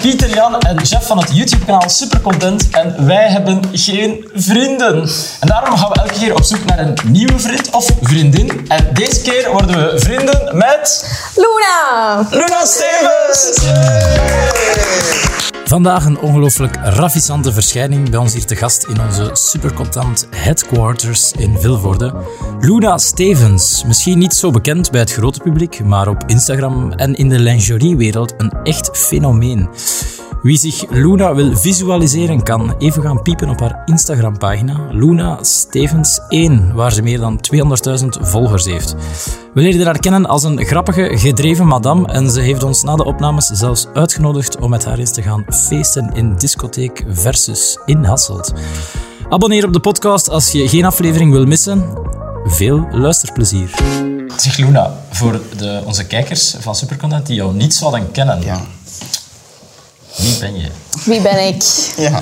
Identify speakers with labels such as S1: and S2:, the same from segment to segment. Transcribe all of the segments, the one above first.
S1: Pieter Jan en Jeff van het YouTube-kanaal Supercontent. En wij hebben geen vrienden. En daarom gaan we elke keer op zoek naar een nieuwe vriend of vriendin. En deze keer worden we vrienden met
S2: Luna!
S1: Luna Stevens.
S3: Vandaag een ongelooflijk raffisante verschijning bij ons hier te gast in onze supercontant headquarters in Vilvoorde. Luna Stevens, misschien niet zo bekend bij het grote publiek, maar op Instagram en in de lingeriewereld een echt fenomeen. Wie zich Luna wil visualiseren kan even gaan piepen op haar Instagram-pagina Luna Stevens 1, waar ze meer dan 200.000 volgers heeft. We leerden haar kennen als een grappige, gedreven madame en ze heeft ons na de opnames zelfs uitgenodigd om met haar eens te gaan feesten in discotheek versus in Hasselt. Abonneer op de podcast als je geen aflevering wil missen. Veel luisterplezier.
S1: Zeg Luna, voor de, onze kijkers van Supercontent die jou niet zouden kennen,
S4: Ja.
S1: wie ben je?
S2: Wie ben ik?
S4: ja.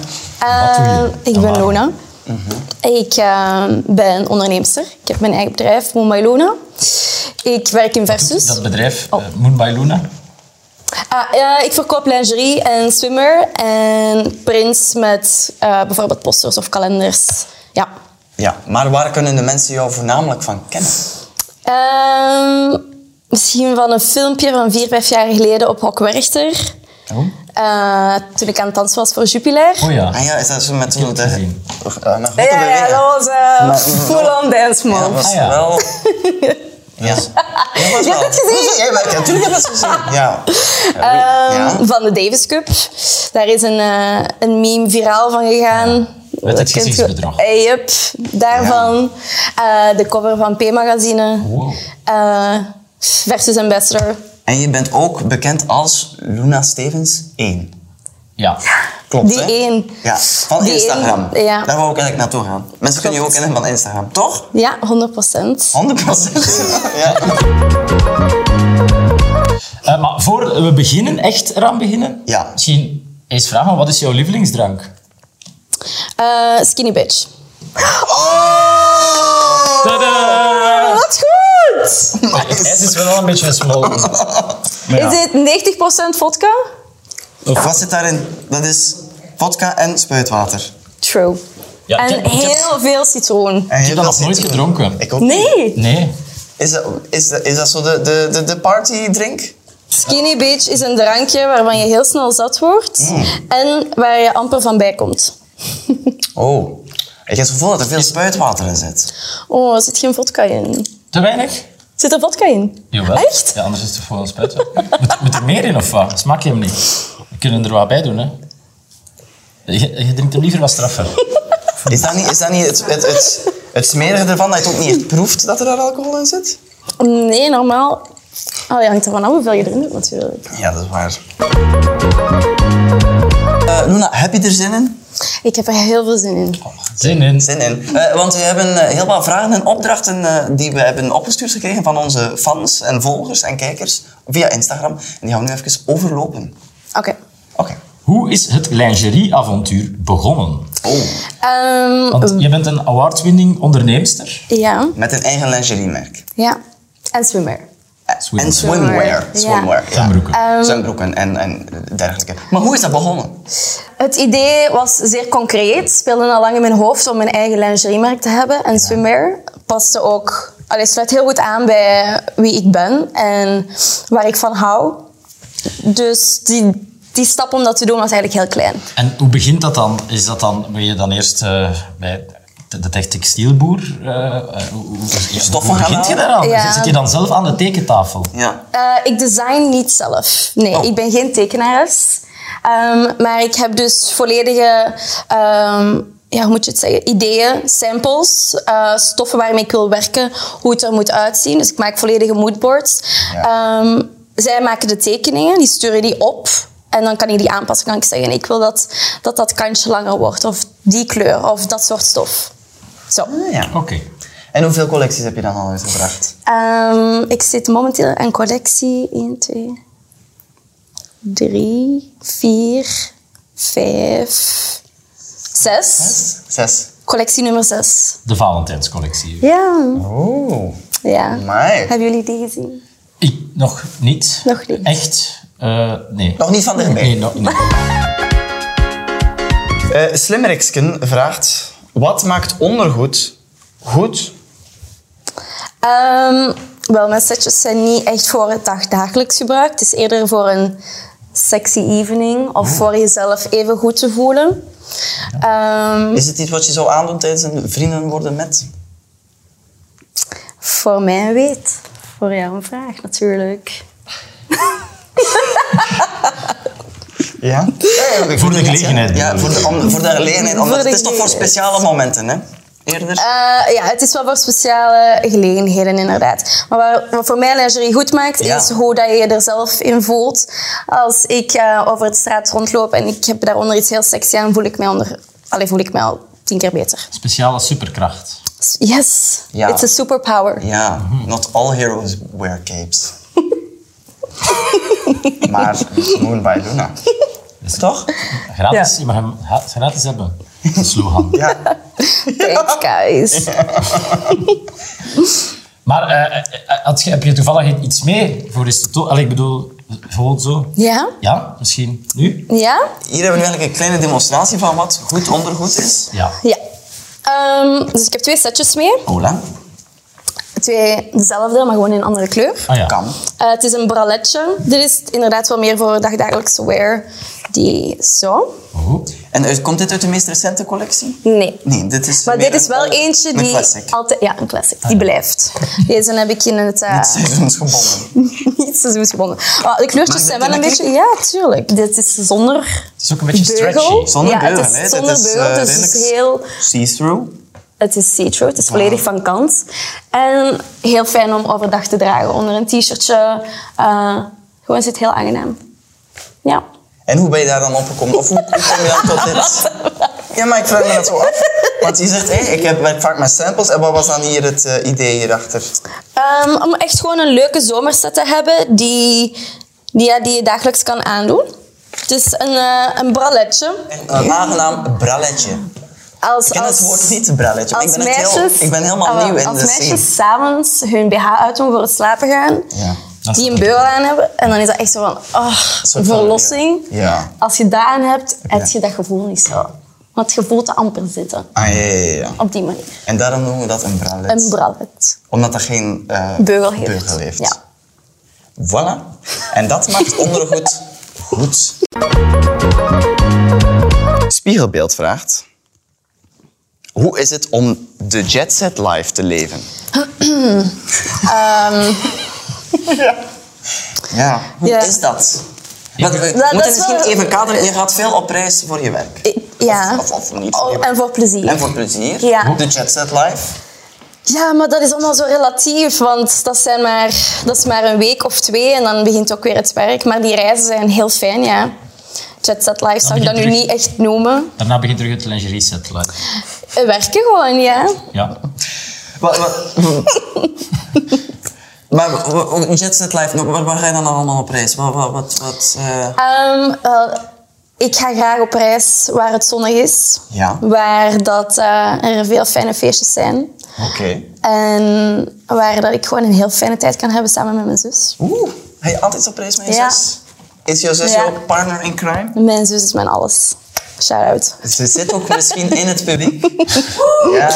S1: doe je? Mhm.
S2: Eh, ik
S1: En
S2: ben
S1: waarom?
S2: Luna. Ik eh, ben onderneemster. Ik heb mijn eigen bedrijf, Moon by Luna. Ik werk in Versus.
S1: Dat bedrijf, eh, Moon by Luna.
S2: Ah, eh, ik verkoop lingerie en swimmer en prints met eh, bijvoorbeeld posters of kalenders. Ja.
S4: ja. Maar waar kunnen de mensen jou voornamelijk van kennen?
S2: Ehm, misschien van een filmpje van vier, vijf jaar geleden op Hok Werchter.
S1: Oh,
S2: Eh, toen ik aan het dansen was voor Jupiler.
S1: oh ja.
S4: Ah ja, is dat zo met zo
S1: het
S4: de...
S1: gezien.
S4: eh, met grote
S2: Ja, ja,
S4: bewegingen?
S2: dat was eh,
S4: Maar-
S2: full on dance
S4: Ja, dat
S2: move.
S4: was
S1: Ah, Nou, ja.
S4: wel... Ja. Dat was
S2: Je hebt het gezien?
S4: Ja, maar ik- natuurlijk heb ik het gezien. Ja. ja.
S2: Ehm, Van de Davis Cup. Daar is een, eh, een meme viraal van gegaan.
S1: Met het
S2: Kunt ge-
S1: gezichtsbedrag.
S2: Eh, Yup, daarvan. Eh, de cover van P-magazine.
S1: Wow.
S2: Eh, versus Ambassador.
S4: En je bent ook bekend als Luna Stevens 1.
S1: Ja.
S4: Klopt,
S2: Die
S4: hè?
S2: één.
S4: Ja, van
S2: Die
S4: Instagram.
S2: één, ja.
S4: Daar wou ik eigenlijk naartoe gaan. Mensen kunnen je ook kennen van Instagram, toch?
S2: Ja, 100%.
S4: 100 ja.
S1: Eh, maar voor we beginnen, echt eraan beginnen,
S4: Ja.
S1: misschien eens vragen, wat is jouw lievelingsdrank?
S2: Eh, skinny Bitch.
S4: Oh!
S1: Tada!
S2: Wat goed!
S1: Het is wel een beetje een small.
S2: Is dit 90% vodka?
S4: Of wat zit daarin? Dat is vodka en spuitwater.
S2: True.
S1: Ja, ik
S2: en
S1: heb- ik heb-
S2: heel veel citroen.
S4: En
S1: Ik heb dat nog nooit gedronken.
S4: Ik ook niet.
S2: Nee!
S1: Nee.
S4: Is dat, is dat, is dat zo de, de, de, de partydrink?
S2: Skinny Beach is een drankje waarvan je heel snel zat wordt
S1: Mm.
S2: en waar je amper van bij komt.
S4: Oh. Ik heb het gevoel dat er veel spuitwater in zit.
S2: Oh, er zit geen vodka in.
S1: Te weinig?
S2: Zit er vodka in?
S1: Jawel.
S2: Echt?
S1: Ja, anders is het gewoon spuiten. moet, moet er meer in of wat? Smaak je hem niet? We kunnen er wat bij doen, hè? Je, je drinkt hem liever wat straffer.
S4: Is dat niet, is dat niet het, het, het, het smerige ervan dat je het ook niet echt proeft dat er daar alcohol in zit?
S2: Nee, normaal. Oh, ja, hangt ervan af hoeveel je erin doet natuurlijk.
S4: Ja, dat is waar. Eh Luna, heb je er zin in?
S2: Ik heb er heel veel zin in.
S1: Zin in.
S4: Zin in. Eh, want we hebben eh, heel wat vragen en opdrachten eh, die we hebben opgestuurd gekregen van onze fans en volgers en kijkers via Instagram. En die gaan we nu even overlopen.
S2: Oké.
S4: Oké.
S1: Hoe is het lingerieavontuur begonnen?
S2: Ehm,
S1: Want je bent een award-winning onderneemster.
S2: ja,
S4: Met een eigen lingeriemerk.
S2: ja. En swimmer.
S4: Eh,
S1: Swimwear.
S4: En swimwear.
S2: Ja. Eh,
S4: Swimwear, ja.
S1: Zwembroeken.
S4: Zwembroeken en, en dergelijke. Maar hoe is dat begonnen?
S2: Het idee was zeer concreet. Speelde al lang in mijn hoofd om mijn eigen lingeriemerk te hebben. En swimwear paste ook... Allee, sluit heel goed aan bij wie ik ben en waar ik van hou. Dus die, die stap om dat te doen was eigenlijk heel klein.
S1: En hoe begint dat dan? Is dat dan, ben je dan eerst eh, bij de, de textielboer? eh, eh, hoe, hoe- ja,
S4: Stoffen
S1: hoe
S4: gaan
S1: begint je
S4: halen?
S1: daaraan?
S2: Ja.
S1: Zit je dan zelf aan de tekentafel?
S4: Ja.
S2: Eh, ik design niet zelf. Nee,
S4: Oh.
S2: ik ben geen tekenares. Ehm, maar ik heb dus volledige, ehm, ja, hoe moet je het zeggen, ideeën, samples, eh, stoffen waarmee ik wil werken, hoe het er moet uitzien. Dus ik maak volledige moodboards.
S4: Ja.
S2: Ehm, zij maken de tekeningen, die sturen die op. En dan kan ik die aanpassen. Kan ik zeggen, ik wil dat dat, dat kantje langer wordt, of die kleur, of dat soort stof. Zo.
S4: Ah, ja.
S1: Oké.
S4: En hoeveel collecties heb je dan al uitgebracht?
S2: Ehm, ik zit momenteel aan collectie 1, 2, 3, 4, 5, 6.
S4: Zes.
S2: Collectie nummer 6.
S1: De Valentijnscollectie.
S2: Ja.
S4: Oh.
S2: ja.
S4: Amai.
S2: Hebben jullie die gezien?
S1: Ik nog niet.
S2: Nog niet.
S1: Echt. Eh, nee.
S4: Nog niet van dichtbij.
S1: Nee, nog niet.
S4: Eh, Slimmeriksken vraagt: wat maakt ondergoed goed?
S2: Ehm, wel, mijn setjes zijn niet echt voor het dag- dagelijks gebruik. Het is eerder voor een sexy evening of voor jezelf even goed te voelen. Ehm,
S4: Is het iets wat je zou aandoen tijdens een vrienden worden met?
S2: voor mij weet. Voor jou een vraag natuurlijk.
S4: Ja.
S1: Voor de gelegenheid.
S4: Ja, voor de, om- voor de gelegenheid. Omdat
S2: Voor de
S4: het is toch voor
S2: gelegenheid.
S4: speciale momenten, hè? Eerder.
S2: Eh, ja, het is wel voor speciale gelegenheden inderdaad. Maar waar- wat voor mij lingerie goed maakt,
S4: Ja.
S2: is hoe dat je je er zelf in voelt. Als ik eh, over de straat rondloop en ik heb daaronder iets heel sexy aan, voel ik mij, onder, allee, voel ik mij al tien keer beter.
S1: Speciale superkracht.
S2: Yes,
S4: Ja.
S2: it's a superpower.
S4: Ja, not all heroes wear capes. maar Moon by Luna. Toch?
S1: Gratis, je mag hem ha- gratis hebben. De slogan.
S4: Ja.
S2: Thanks, guys.
S1: Maar eh, eh, had je, heb je toevallig iets mee voor Ristoto? Allee, ik bedoel, gewoon zo.
S2: Ja?
S1: Ja, misschien nu?
S2: Ja?
S4: Hier hebben we nu eigenlijk een kleine demonstratie van wat goed ondergoed is.
S1: Ja.
S2: Ja. Ehm, dus ik heb twee setjes mee.
S4: Ola,
S2: Twee dezelfde, maar gewoon in een andere kleur.
S1: Ah ja.
S4: kan.
S2: Eh, het is een braletje. Dit is inderdaad wel meer voor dagdagelijkse wear. Die zo.
S1: Oh.
S4: En uit- komt dit uit de meest recente collectie?
S2: Nee.
S4: Nee, dit is.
S2: Maar
S4: meer
S2: dit is
S4: een- eh,
S2: wel eentje
S4: een
S2: die
S4: classic. Ah.
S2: altijd... Ja, een classic. Die blijft. Deze heb ik in het... eh,
S4: Seizoensgebonden.
S2: niet seizoensgebonden. Ah, de
S4: Mag
S2: kleurtjes
S4: ik
S2: zijn
S4: dit
S2: wel een
S4: in de
S2: beetje... Ja, tuurlijk. Dit is zonder
S1: Het is ook een beetje
S2: beugel.
S1: stretchy.
S4: Zonder
S2: ja,
S4: beugel,
S2: het
S4: hè.
S2: is
S4: Dit
S2: zonder
S4: is,
S2: beugel.
S4: eh,
S2: dus het is
S4: redelijk-
S2: heel...
S4: See-through.
S2: Het is see-through,
S4: Ah.
S2: het is volledig van kant. En heel fijn om overdag te dragen onder een t-shirtje. Eh, gewoon zit heel aangenaam. Ja.
S4: En hoe ben je daar dan opgekomen? Of hoe, hoe kom je dan tot dit? Ja, maar ik vraag me dat zo af. Want je zegt, hé, ik heb, werk vaak met samples. En wat was dan hier het eh, idee hierachter?
S2: Ehm, om echt gewoon een leuke zomerset te hebben die, die, ja, die je dagelijks kan aandoen. Het is een, eh, een braletje.
S4: Een aangenaam bralletje.
S2: Als,
S4: Ik ken
S2: als,
S4: het woord niet, bralletje. maar
S2: als
S4: ik ben, het
S2: meisjes,
S4: heel, ik ben helemaal
S2: ah, wel,
S4: nieuw in
S2: Als
S4: de scene.
S2: meisjes s'avonds hun BH uitdoen voor het slapen gaan,
S1: dat is
S2: die een
S1: goed.
S2: beugel aan hebben, en dan is dat echt zo van, ah,
S4: soort van-
S2: verlossing.
S4: Ja.
S2: Als je daar aan hebt, heb je dat gevoel niet zo. Want je voelt het amper zitten,
S4: Ah, ja, ja, ja.
S2: op die manier.
S4: En daarom noemen we dat een brallet.
S2: Een brallet.
S4: Omdat dat geen eh,
S2: Beugel heeft.
S4: beugel heeft.
S2: Ja.
S4: Voilà. En dat maakt ondergoed goed. Spiegelbeeld vraagt... Hoe is het om de jetset life te leven?
S2: Ehm.
S4: ja. hoe
S2: Ja. Nou,
S4: is dat? Want we
S2: dat
S4: moeten
S2: is
S4: misschien
S2: wel-
S4: even kaderen. Je gaat veel op reis voor je werk.
S2: I- Ja.
S4: Of, of, of niet.
S2: Oh, en voor plezier.
S4: En voor plezier.
S2: Ja.
S4: De jetset life.
S2: Ja, maar dat is allemaal zo relatief, want dat, zijn maar, dat is maar een week of twee en dan begint ook weer het werk. Maar die reizen zijn heel fijn, ja. Jet Set Life zou ik
S1: begint
S2: dat nu
S1: terug.
S2: niet echt noemen.
S1: Daarna begint terug het lingerie set. like.
S2: Eh, Werken gewoon, ja.
S1: Ja.
S4: Wat, wat- maar wa- wa- Jet Set Life, waar, waar ga je dan allemaal op reis? Wat, wat, wat, wat, eh,
S2: Ehm, wel, ik ga graag op reis waar het zonnig is.
S4: Ja.
S2: Waar dat, eh, er veel fijne feestjes zijn.
S4: Oké.
S2: En waar dat ik gewoon een heel fijne tijd kan hebben samen met mijn zus.
S4: Oeh, ga je altijd op reis met je
S2: Ja.
S4: zus? Is jouw zus
S2: Ja.
S4: jouw partner in crime?
S2: Mijn zus is mijn alles. Shout-out.
S4: Ze zit ook misschien in het publiek. ja,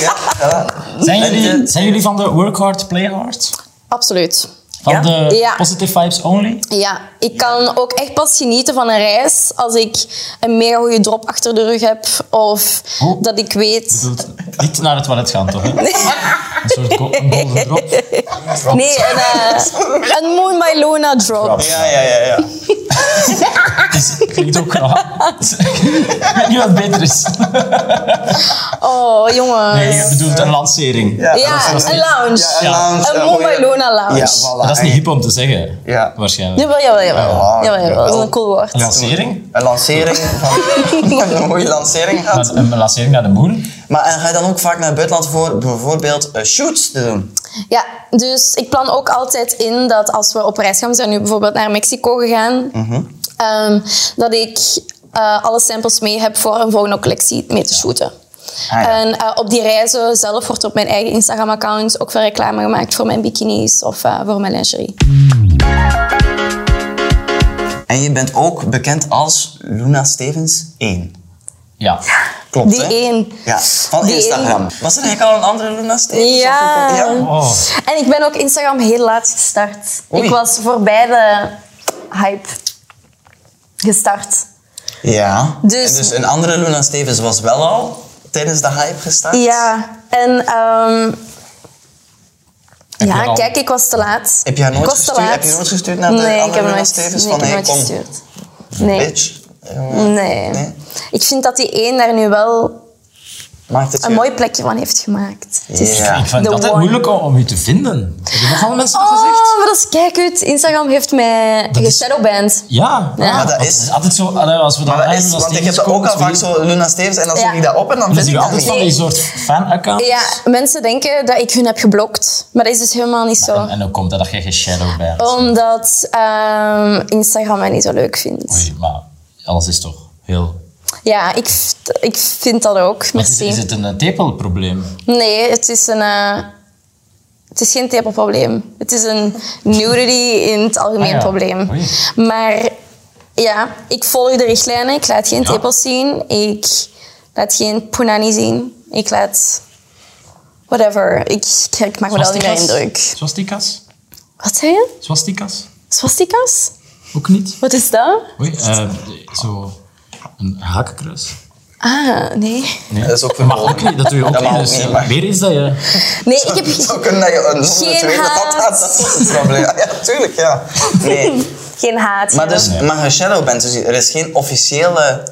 S4: ja, voilà.
S1: Zijn,
S4: En,
S1: jullie,
S4: eh,
S1: zijn jullie van de work hard, play hard?
S2: Absoluut.
S1: Van
S4: Ja.
S1: de
S2: Ja.
S1: positive vibes only?
S2: Ja, ik kan ook echt pas genieten van een reis als ik een mega goede drop achter de rug heb. Of
S1: Oh.
S2: dat ik weet...
S1: Bedoelt, niet naar het toilet gaan, toch? Hè? Een soort go- een golden drop.
S2: Nee, een, eh, een Moon by Luna drop.
S4: Ja, ja, ja, ja.
S1: Dus, klinkt ook raar. Ik weet niet wat beter is.
S2: Oh, jongens.
S1: Nee, je bedoelt een lancering.
S2: Ja, een lounge.
S4: Ja, een lounge.
S2: Een
S4: eh,
S2: Moon
S4: goeie-
S2: by Luna lounge.
S4: Ja,
S5: Dus
S4: voilà.
S1: Maar dat is niet
S4: En-
S1: hip om te zeggen,
S4: Ja.
S1: waarschijnlijk.
S2: Jawel, jawel, jawel.
S4: Ja,
S2: jawel, jawel. Dat is
S4: jawel.
S2: een cool woord.
S1: Een lancering?
S4: Een lancering van... een mooie lancering
S1: Maar
S4: gehad.
S1: Een lancering naar de moon?
S4: Maar en ga je dan ook vaak naar het buitenland voor bijvoorbeeld eh, shoots te doen?
S2: Ja, dus ik plan ook altijd in dat als we op reis gaan, we zijn nu bijvoorbeeld naar Mexico gegaan,
S4: Mhm.
S2: ehm, dat ik eh, alle samples mee heb voor een volgende collectie mee te shooten.
S4: Ah, ja.
S2: En eh, op die reizen zelf wordt op mijn eigen Instagram-account ook veel reclame gemaakt voor mijn bikinis of eh, voor mijn lingerie.
S4: En je bent ook bekend als Luna Stevens 1.
S1: Ja.
S4: Klopt,
S2: Die
S4: hè?
S2: één.
S4: Ja, van
S2: Die
S4: Instagram. Was er eigenlijk al een andere Luna Stevens? of
S2: Ja.
S4: ook- ja.
S1: Oh.
S2: En ik ben ook Instagram heel laat gestart.
S4: Oei.
S2: Ik was voorbij de hype gestart.
S4: Ja.
S2: Dus-
S4: En dus een andere Luna Stevens was wel al tijdens de hype gestart.
S2: Ja, en ehm,
S1: je
S2: ja,
S1: al-
S2: kijk, ik was te laat.
S4: Heb je haar nooit
S2: Ik was te
S4: gestuurd-
S2: laat.
S4: heb je nooit gestuurd naar de
S2: nee,
S4: andere
S2: ik heb
S4: Luna
S2: nooit,
S4: Stevens
S2: nee,
S4: van,
S2: ik heb
S4: hey,
S2: nooit
S4: kom.
S2: gestuurd. Nee.
S4: Bitch. Eh,
S2: Nee.
S4: Nee.
S2: Ik vind dat die één daar nu wel
S4: Maakt het
S2: een
S4: je-
S2: mooi plekje van heeft gemaakt. Het is-
S4: Ja.
S3: Ik vind
S2: The
S3: het altijd
S2: one.
S3: moeilijk om- om je te vinden. Heb je nogal mensen dat gezegd?
S2: Oh, maar dat is kijk uit. Instagram heeft mij
S3: is-
S2: geshadowband.
S3: Ja,
S2: Ja. Maar
S4: dat
S3: Want
S4: is-
S3: het altijd zo. allee, Als we dan
S4: Maar dat is,
S3: eigenlijk als
S4: want ik
S3: die
S4: heb dat ook
S3: komen,
S4: al vaak
S3: zo-
S4: zo Luna Stevens en dan
S2: Ja.
S4: zoek ik dat op en dan
S3: Dan
S4: vind
S3: zie
S4: ik
S3: je
S4: dat
S3: altijd
S2: Nee.
S4: niet.
S3: van die soort fan-accounts.
S2: Ja, mensen denken dat ik hun heb geblokt, maar dat is dus helemaal niet zo.
S3: En,
S4: Ah,
S3: en hoe komt dat dat je geen shadow bent?
S4: Oh.
S2: Omdat ehm, Instagram mij niet zo leuk vindt.
S3: Oei, maar alles is toch heel...
S2: Ja, ik, v- ik vind dat ook.
S3: Wat Is,
S2: Merci.
S3: is het een eh, tepelprobleem?
S2: Nee, het is een... eh, het is geen tepelprobleem. Het is een nudity in het algemeen
S3: Ah ja.
S2: probleem.
S3: Oei.
S2: Maar ja, ik volg de richtlijnen. Ik laat geen
S3: Ja.
S2: tepels zien. Ik laat geen punani zien. Ik laat... Whatever. Ik, ik maak me daar niet meer
S3: Swastikas?
S2: indruk.
S3: Swastikas?
S2: Wat zei je?
S3: Swastikas?
S2: Swastikas?
S3: Ook niet?
S2: Wat is dat?
S3: Oei, eh, zo een hakenkruis.
S2: Ah, nee.
S3: Nee.
S4: Dat is ook
S3: mag
S4: verboden.
S3: ook niet, dat doe je ook
S4: Dat
S3: niet.
S4: mag ook
S3: Dus,
S4: niet,
S3: eh,
S4: maar-
S3: meer is dat je...
S2: Nee, ik heb... ge-
S4: Zo kunnen dat je een zonder
S2: Geen
S4: te weten dat dat
S2: haat.
S4: dat is het probleem. Ja, tuurlijk, ja. Nee.
S2: Geen haat.
S4: Maar
S2: ja.
S4: dus, maar je shadow bent, dus er is geen officiële...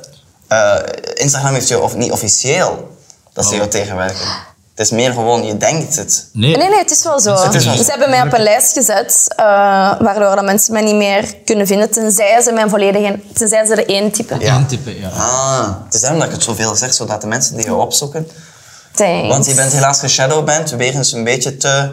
S4: eh, Instagram heeft je of niet officieel dat ze jou tegenwerken. Het is meer gewoon, je denkt het.
S3: Nee.
S2: Nee, nee, het is wel zo.
S3: Het is wel zo.
S2: Ze hebben mij op een lijst gezet, eh, waardoor dat mensen mij niet meer kunnen vinden, tenzij ze mijn volledige, tenzij ze de één typen.
S4: Ja.
S3: Intippen, ja.
S4: Ah, het is daarom dat ik het zoveel zeg, zodat de mensen die je opzoeken...
S2: Thanks.
S4: Want je bent helaas geshadowband wegens een beetje te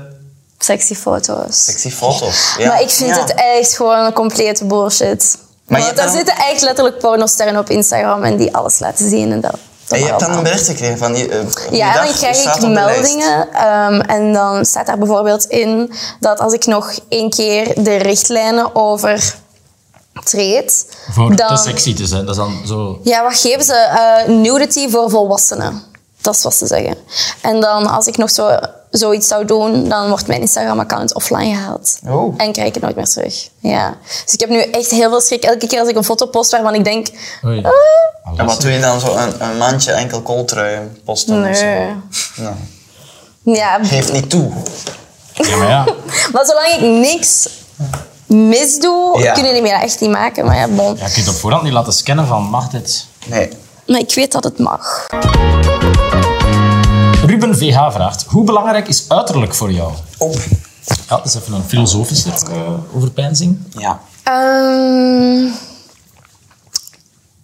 S2: Sexy foto's.
S4: sexy foto's. Ja.
S2: Maar ik vind
S4: Ja.
S2: het echt gewoon een complete bullshit.
S4: Maar
S2: Want
S4: je hebt
S2: daar
S4: dan-
S2: zitten echt letterlijk pornosterren op Instagram en die alles laten zien en dat. dat
S4: En je hebt dan
S2: allemaal.
S4: een bericht gekregen van... Je, eh, die
S2: Ja,
S4: dag
S2: dan krijg
S4: staat
S2: ik
S4: op de lijst.
S2: meldingen ehm, en dan staat daar bijvoorbeeld in dat als ik nog één keer de richtlijnen overtreed,
S3: Voor
S2: dan
S3: te sexy te zijn. Dat is dan zo...
S2: Ja, wat geven ze? Eh, nudity voor volwassenen. Dat is wat ze zeggen. En dan als ik nog zo, zoiets zou doen, dan wordt mijn Instagram-account offline gehaald.
S4: Oh.
S2: En krijg ik het nooit meer terug. Ja. Dus ik heb nu echt heel veel schrik elke keer als ik een foto post waarvan ik denk...
S3: Oei.
S2: "Ah,
S4: En wat doe je dan? Zo een, een mandje enkel kooltruien posten of zo?
S2: nee.
S4: Nou,
S2: Ja,
S4: geef niet toe.
S3: Ja, maar ja.
S2: maar zolang ik niks misdoe,
S4: Ja.
S2: kunnen die mij dat echt niet maken. Maar ja, bon.
S3: Ja, je kunt op voorhand niet laten scannen van, mag dit?
S4: Nee.
S2: Maar ik weet dat het mag.
S3: Ruben VH vraagt, hoe belangrijk is uiterlijk voor jou?
S4: Op.
S3: Ja, dat is even een filosofische eh overpeinzing.
S4: Ja.
S2: Ehm,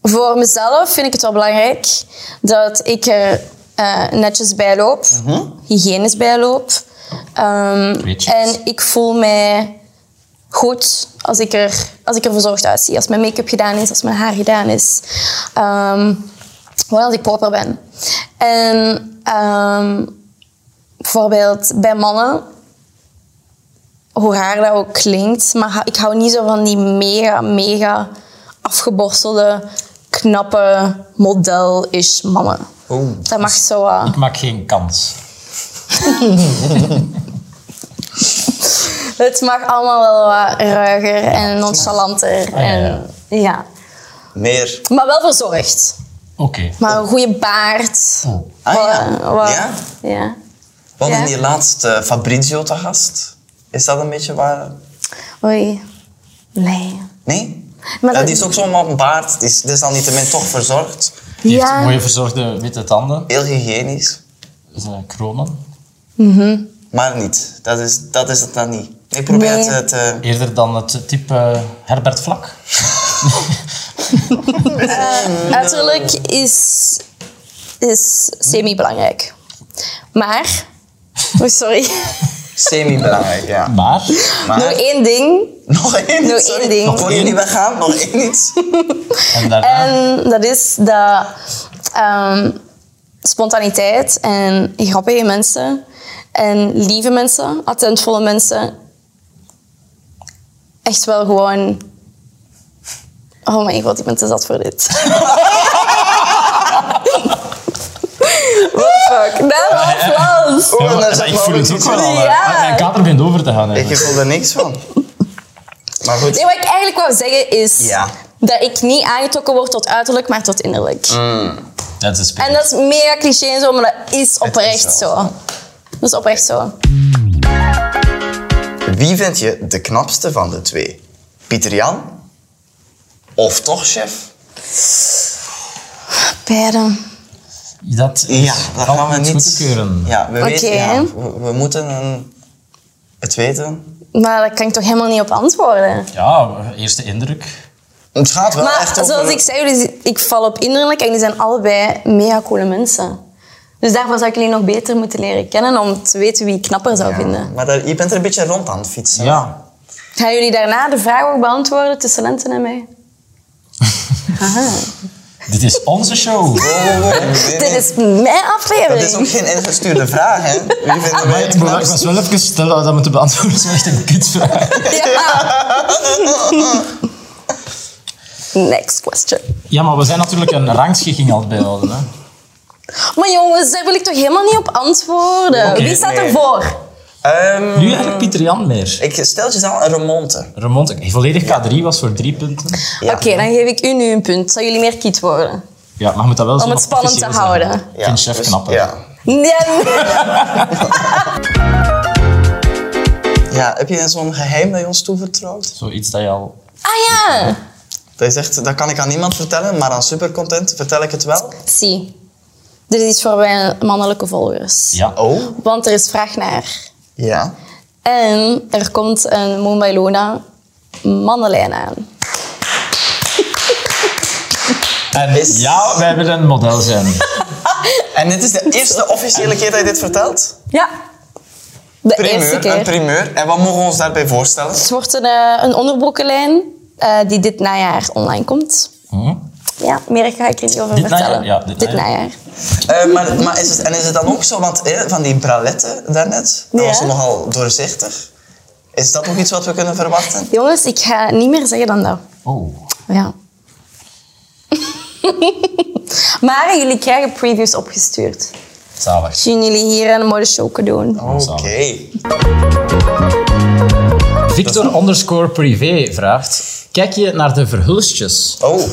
S2: voor mezelf vind ik het wel belangrijk dat ik er eh, netjes bij loop, hygiënisch bij loop. Ehm,
S3: Twee checks.
S2: en ik voel mij goed als ik, er, als ik er verzorgd uitzie. Als mijn make-up gedaan is, als mijn haar gedaan is. Ehm, gewoon als ik proper ben. En ehm, bijvoorbeeld bij mannen hoe raar dat ook klinkt, maar ha- ik hou niet zo van die mega, mega afgeborstelde, knappe, model-ish mannen.
S4: Oeh.
S2: Dat mag zo... eh,
S3: Ik maak geen kans.
S2: het mag allemaal wel wat ruiger en nonchalanter.
S3: Ah, ja, ja.
S2: En, ja.
S4: Meer.
S2: Maar wel verzorgd.
S3: Oké.
S2: Maar een goede baard.
S3: Oh.
S4: Ah
S2: Wat-
S4: ja.
S2: wat-
S4: ja.
S2: ja.
S4: We hadden
S2: Ja.
S4: hier laatst eh, Fabrizio te gast. Is dat een beetje waar?
S2: Oei. Nee.
S4: Nee?
S2: Maar
S4: ja,
S2: dat-
S4: die is ook zo'n baard. Die is, die is dan niet toch verzorgd.
S3: Die heeft
S2: Ja.
S3: mooie verzorgde witte tanden.
S4: Heel hygiënisch.
S3: Dus, eh, kronen.
S4: Maar niet. Dat is, dat is het dan niet. Ik probeer
S2: Nee.
S4: het... eh, te-
S3: Eerder dan het type eh, Herbert Vlak.
S4: Mm.
S2: Uiterlijk is, is semi-belangrijk. Maar... Oh, sorry.
S4: Semi-belangrijk, ja.
S3: Maar,
S4: Maar-
S2: Nog één ding.
S4: Nog één
S2: Nog
S4: iets, sorry.
S2: één ding.
S4: Nog één niet weggaan, nog één iets.
S3: en daarna...
S2: En dat is dat ehm, spontaniteit en grappige mensen en lieve mensen, attentvolle mensen, echt wel gewoon Oh mijn god, ik ben te zat voor dit. What the fuck? Dat was Lans.
S4: Oh,
S1: Ja,
S4: en daar zat
S1: maar ik
S4: maar
S1: voel
S4: ook
S1: het ook
S4: iets
S1: wel
S4: in.
S1: al. hè.
S2: Ja.
S1: Ah, Mijn kater begint over te gaan. hè.
S4: Ik voel er niks van. Maar goed.
S2: Nee, wat ik eigenlijk wou zeggen is
S4: Ja.
S2: dat ik niet aangetrokken word tot uiterlijk, maar tot innerlijk.
S1: Dat is een spin.
S2: En dat is mega cliché en zo, maar dat is oprecht
S4: wel
S2: zo. Dat is oprecht zo.
S4: Wie vind je de knapste van de twee? Pieter Jan? Of toch, chef?
S2: Beiden.
S1: Dat is
S4: Ja, dat gaan we
S1: altijd
S4: niet...
S1: goedkeuren.
S4: Ja, we
S2: Oké.
S4: weten... Ja, we, we moeten een- het weten.
S2: Maar daar kan ik toch helemaal niet op antwoorden.
S1: Ja, eerste indruk.
S4: Het gaat wel
S2: Maar
S4: echt over-
S2: zoals ik zei, jullie- ik val op innerlijk en die zijn allebei mega coole mensen. Dus daarvoor zou ik jullie nog beter moeten leren kennen om te weten wie ik knapper zou vinden.
S4: Maar daar, je bent er een beetje rond aan het fietsen.
S1: Ja.
S2: Gaan jullie daarna de vraag ook beantwoorden tussen Lenten en mij?
S1: Dit is onze show.
S4: Wow, wow, wow. Nee,
S2: Dit
S4: nee.
S2: is mijn
S4: Dat is ook
S2: aflevering.
S4: geen ingestuurde vraag, hè? Wie vinden wij het
S1: Ik was
S4: knapst?
S1: wel even stil dat we moeten beantwoorden. Dat is echt een kutvraag.
S2: Ja. Next question.
S1: Ja, maar we zijn natuurlijk een rangschikking aan het bijhouden. Hè?
S2: Maar jongens, daar wil ik toch helemaal niet op antwoorden.
S1: Oké,
S2: wie staat
S4: nee.
S2: ervoor?
S4: Ehm,
S1: Nu eigenlijk Pieter Jan meer.
S4: ik stel je dan een remonte.
S1: Remont, volledig K3 was voor drie punten.
S4: Ja.
S2: Oké, dan geef ik u nu een punt. Zou jullie meer kiet worden?
S1: Ja, maar je moet dat wel zo
S2: Om het
S1: nog
S2: spannend te
S1: officieel zeggen.
S2: houden.
S1: Ik vind chef
S4: dus-
S1: knapper.
S4: Ja.
S2: Ja,
S4: ja, heb je zo'n geheim dat je ons toevertrouwt?
S1: Zoiets dat je al...
S2: Ah ja!
S4: Dat is echt, dat kan ik aan niemand vertellen, maar aan supercontent vertel ik het wel.
S2: Zie. Dit is iets voor mijn mannelijke volgers.
S1: Ja.
S4: Oh.
S2: Want er is vraag naar.
S4: Ja.
S2: En er komt een Mumbai Luna mannenlijn aan.
S1: En
S4: Is-
S1: ja, wij willen een model zijn.
S4: En dit is de eerste officiële keer dat je dit vertelt?
S2: Ja. De eerste
S4: Primeur, een
S2: keer.
S4: primeur. En wat mogen we ons daarbij voorstellen?
S2: Het wordt een, eh, een onderbroekenlijn eh, die dit najaar online komt.
S1: Hm?
S2: Ja, meer ga ik er niet over
S1: Dit
S2: vertellen.
S1: najaar? Ja, dit najaar.
S4: Eh, maar, maar is het, en is het dan ook zo, want eh, van die braletten daarnet, dat
S2: Ja.
S4: was nogal doorzichtig. Is dat ook iets wat we kunnen verwachten?
S2: Jongens, ik ga niet meer zeggen dan dat.
S1: Oh.
S2: Ja. maar jullie krijgen previews opgestuurd.
S1: Zalig.
S2: zien jullie hier een mooie show kunnen doen.
S4: Oké.
S1: Victor underscore privé vraagt... Kijk je naar de verhulstjes?
S4: Oh,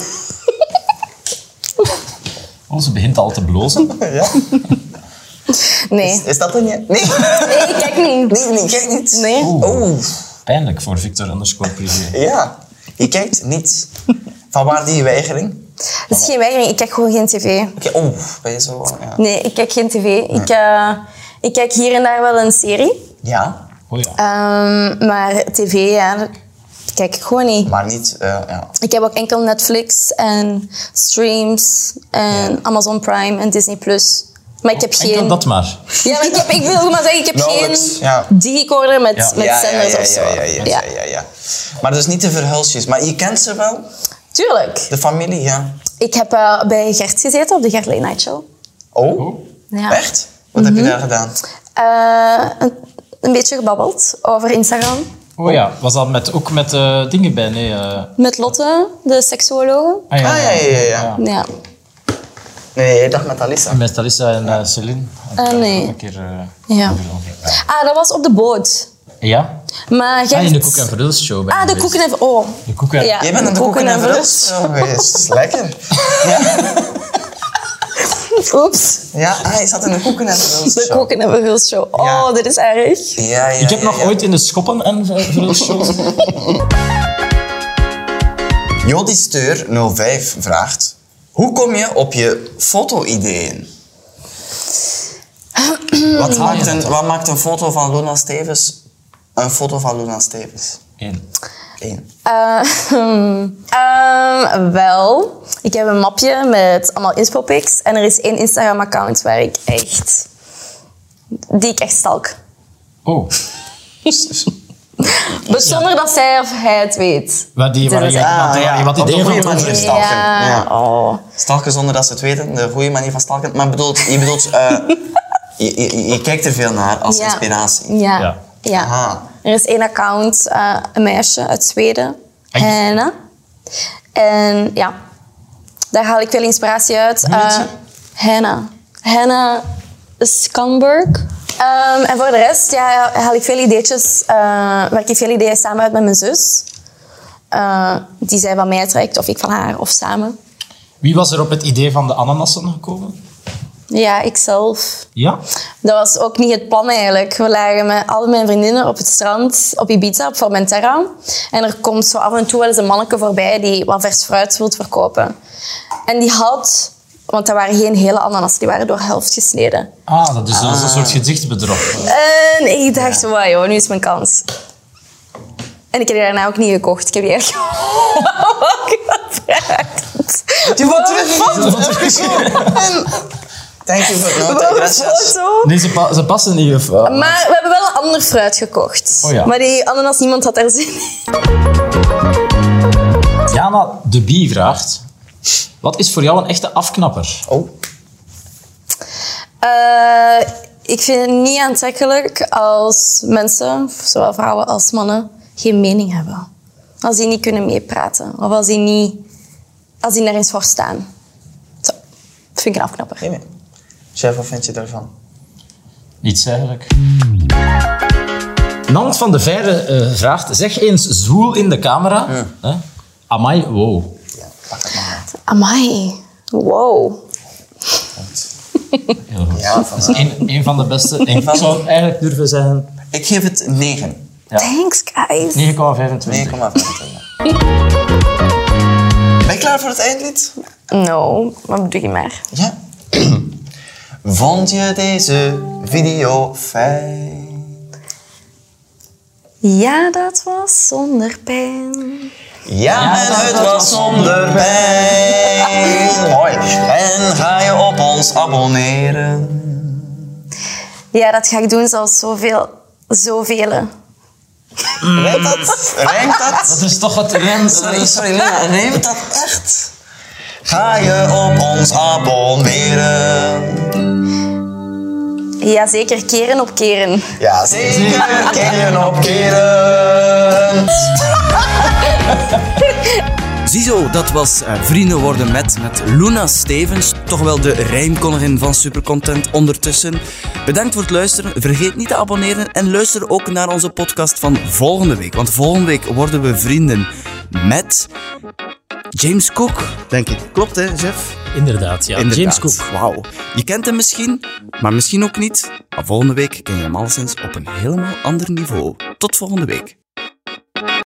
S1: Oh, ze begint al te blozen.
S4: ja.
S2: Nee.
S4: Is dat een ja? Nee,
S2: Nee, ik kijk niet. Oh.
S4: nee, nee, kijk niet. Oh.
S2: Nee.
S4: Oeh,
S1: Pijnlijk voor Victor underscore privé.
S4: ja. Je kijkt niet. Van waar die weigering?
S2: Dat is geen weigering. Ik kijk gewoon geen tv.
S4: Oké, oh, ben je zo... Ja.
S2: Nee, ik kijk geen tv. Ik, eh, ik kijk hier en daar wel een serie.
S4: ja,
S1: Oh ja.
S2: Ehm, maar tv, ja, dat kijk ik gewoon niet.
S4: maar niet... eh, ja.
S2: Ik heb ook enkel Netflix en streams en Amazon Prime en Disney+. Plus. Maar ik heb
S1: Enkel
S2: geen...
S1: dat maar.
S2: Ja, maar ik, heb, ik wil maar zeggen, ik heb
S4: Nauwelijks,
S2: geen
S4: ja.
S2: digicorder met, met
S4: ja, ja,
S2: zenders
S4: ja,
S2: of zo.
S4: ja, ja, ja, ja, ja, ja. Maar dus niet de verhulsjes. Maar je kent ze wel,
S2: Tuurlijk.
S4: de familie, ja.
S2: Ik heb eh, bij Gert gezeten op de Gert Late Night Show.
S4: Oh,
S2: Ja.
S4: echt? Wat heb je daar gedaan?
S2: Eh, een, een beetje gebabbeld over Instagram.
S1: Oh ja, was dat met, ook met eh, dingen bij? Nee, eh,
S2: Met Lotte, de seksuologe.
S1: ah,
S4: Ah, ja, ja, ja. ja.
S2: Ja.
S4: Nee, ik dacht met Alissa.
S1: Met Talissa en eh, Celine.
S2: Ah, nee.
S1: Een keer, eh,
S2: Ja.
S1: overal.
S2: Ah, dat was op de boot.
S1: ja?
S2: Maar Gert...
S1: Ah, in de Koek en Verhuls show. ben
S2: Ah,
S1: je
S2: de
S1: geweest.
S2: koeken en... Oh.
S1: De Koek en...
S2: Ja,
S4: Jij bent aan de koeken en verhulst geweest. Lekker. Ja,
S2: Oeps.
S4: ja ah, je zat in de koeken en verhulst.
S2: De koeken en verhuls show. Oh,
S4: Ja.
S2: dit is erg.
S4: Ja, ja,
S1: Ik heb
S4: ja,
S1: nog
S4: ja.
S1: ooit in de Schoppen en Ver- Verhuls show...
S4: Jody Steur 05 vraagt: Hoe kom je op je foto-ideeën? wat, maakt een, wat maakt een foto van Luna Stevens een foto van Luna Stevens?
S1: Eén.
S4: Eén.
S2: Eh, ehm, wel, ik heb een mapje met allemaal inspopics. En er is één Instagram-account waar ik echt... Die ik echt stalk.
S1: Oh.
S2: Maar zonder dat zij of hij het weet.
S1: Waar die, waar
S2: Dit
S1: je,
S2: is-
S1: wat,
S4: ah, ja,
S1: wat
S4: op
S1: idee
S4: een goede
S1: van
S4: manier.
S1: het-
S4: Stalken,
S2: Ja.
S4: ja.
S2: Oh.
S4: Stalken zonder dat ze het weten, de goede manier van stalken. Maar bedoelt, je bedoelt, eh, je, je, je kijkt er veel naar als
S2: Ja.
S4: inspiratie.
S2: Ja.
S1: Ja.
S2: ja.
S4: Aha.
S2: Er is één account, eh, een meisje uit Zweden,
S1: En-
S2: Hanna. En ja, daar haal ik veel inspiratie uit.
S1: Hoe heet
S2: Eh,
S1: ze?
S2: Hannah. Hannah Skanberg. Ehm, en voor de rest ja, haal ik veel ideetjes, eh werk ik veel ideeën samen uit met mijn zus. Eh, die zij van mij trekt, of ik van haar, of samen.
S1: Wie was er op het idee van de ananassen gekomen?
S2: Ja, ikzelf.
S1: Ja?
S2: Dat was ook niet het plan eigenlijk. We lagen met al mijn vriendinnen op het strand op Ibiza, op Formentera. En er komt zo af en toe wel eens een manneke voorbij die wat vers fruit wil verkopen. En die had, want dat waren geen hele ananassen, die waren door helft gesneden.
S1: Ah, dat is, dat is een soort gezichtsbedrog.
S2: En ik dacht, wow joh, nu is mijn kans. En ik heb die daarna ook niet gekocht. Ik heb die echt gevraagd.
S4: Je wordt terug. Thank you for noting, gracias.
S1: Nee, ze, pa- ze passen niet. Of, eh,
S2: Maar we hebben wel een ander fruit gekocht.
S1: Oh ja.
S2: Maar die ananas, niemand had er zin in.
S1: Jana de Bie vraagt... Wat is voor jou een echte afknapper?
S4: Oh,
S2: Eh, ik vind het niet aantrekkelijk als mensen, zowel vrouwen als mannen, geen mening hebben. Als die niet kunnen meepraten. Of als die, niet, als die nergens voor staan. Zo. Dat vind ik een afknapper.
S4: neem je. Chef, wat vind je daarvan?
S1: Niets eigenlijk. Nant van de Veire eh, vraagt... Zeg eens zwoel in de camera. Hè? Amai, wow.
S2: Amai. Wow.
S1: Heel goed.
S4: Ja,
S1: dat is een, een van de beste. Ik zou eigenlijk durven zeggen...
S4: Ik geef het 9. 9,25.
S2: Thanks, guys.
S1: 9,25.
S4: Ben je klaar voor het eindlied?
S2: No, wat bedoel je maar?
S4: Ja. Vond je deze video fijn?
S2: Ja, dat was zonder pijn.
S4: Ja, en het was zonder pijn. Mooi. En ga je op ons abonneren?
S2: Ja, dat ga ik doen zoals zoveel, zoveel.
S4: Rijmt dat? Rijmt dat?
S1: Dat is toch wat rent.
S4: Sorry, sorry Lena, rijmt dat echt? Ga je op ons abonneren?
S2: Jazeker, keren op keren.
S4: Ja, zeker. Keren op keren.
S5: Ziezo, dat was eh, Vrienden worden met, met Luna Stevens. Toch wel de rijmkoningin van Supercontent ondertussen. Bedankt voor het luisteren. Vergeet niet te abonneren en luister ook naar onze podcast van volgende week. Want volgende week worden we vrienden met James Cook. Denk ik. Klopt hè, Jeff?
S3: Inderdaad, ja.
S5: Inderdaad.
S3: James Cook.
S5: Wauw. Je kent hem misschien, maar misschien ook niet. Maar volgende week ken je hem alleszins op een helemaal ander niveau. Tot volgende week.